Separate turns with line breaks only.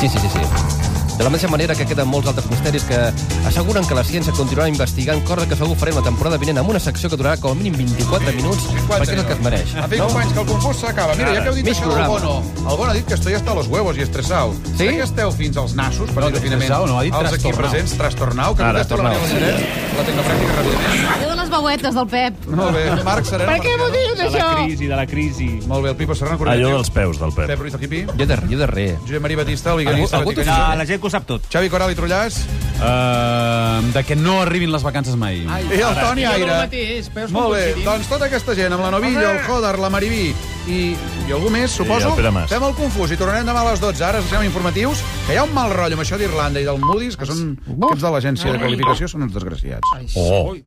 Sí, sí, sí, sí. De la mateixa manera que queden molts altres misteris que asseguren que la ciència continuarà investigant, cosa que segur farem la temporada vinent amb una secció que durarà com a mínim 24 minuts, perquè és el que es mereix.
eh? A fi, companys, que el confús s'acaba. Mira, ja que heu dit
Mig
això del
programa.
Bono, el Bono ha dit que estoy hasta los huevos i estressau.
Sí?
Ja que esteu fins als nassos, per
No,
dir-ho finament,
estressau no, ha dit
els aquí
trastornau.
presents, trastornau, que
Ah,
no té la
trastornau.
Maria Lazaret, la tecnopràctica, ràpidament.
Allò de les veuetes del Pep.
Molt bé, Marc Serena.
Per què m'ho
Marciano.
dius,
De la
això?
crisi, de la crisi.
Molt bé, el Pipo Serrano, Cornet.
Allò dels peus del
Pep
Pep.
Ruiz, el Quipi.
Jo de, jo de res.
Josep Maria Batista, el Viganista.
Algú- algú
Batista.
No, Ah, la gent que ho sap tot.
Xavi Coral i Trullàs.
Uh, de que no arribin les vacances mai. Ai.
I el Toni Aire.
mateix, peus
Molt bé, doncs tota aquesta gent, amb la Novilla, el Jodar, la Mariví i, i algú més, suposo,
el Pere Mas.
fem el confús i tornarem demà a les 12. Ara serem informatius, que hi ha un mal rotllo amb això d'Irlanda i del Moody's, que són aquests de l'agència de qualificació, són uns desgraciats.
Oh.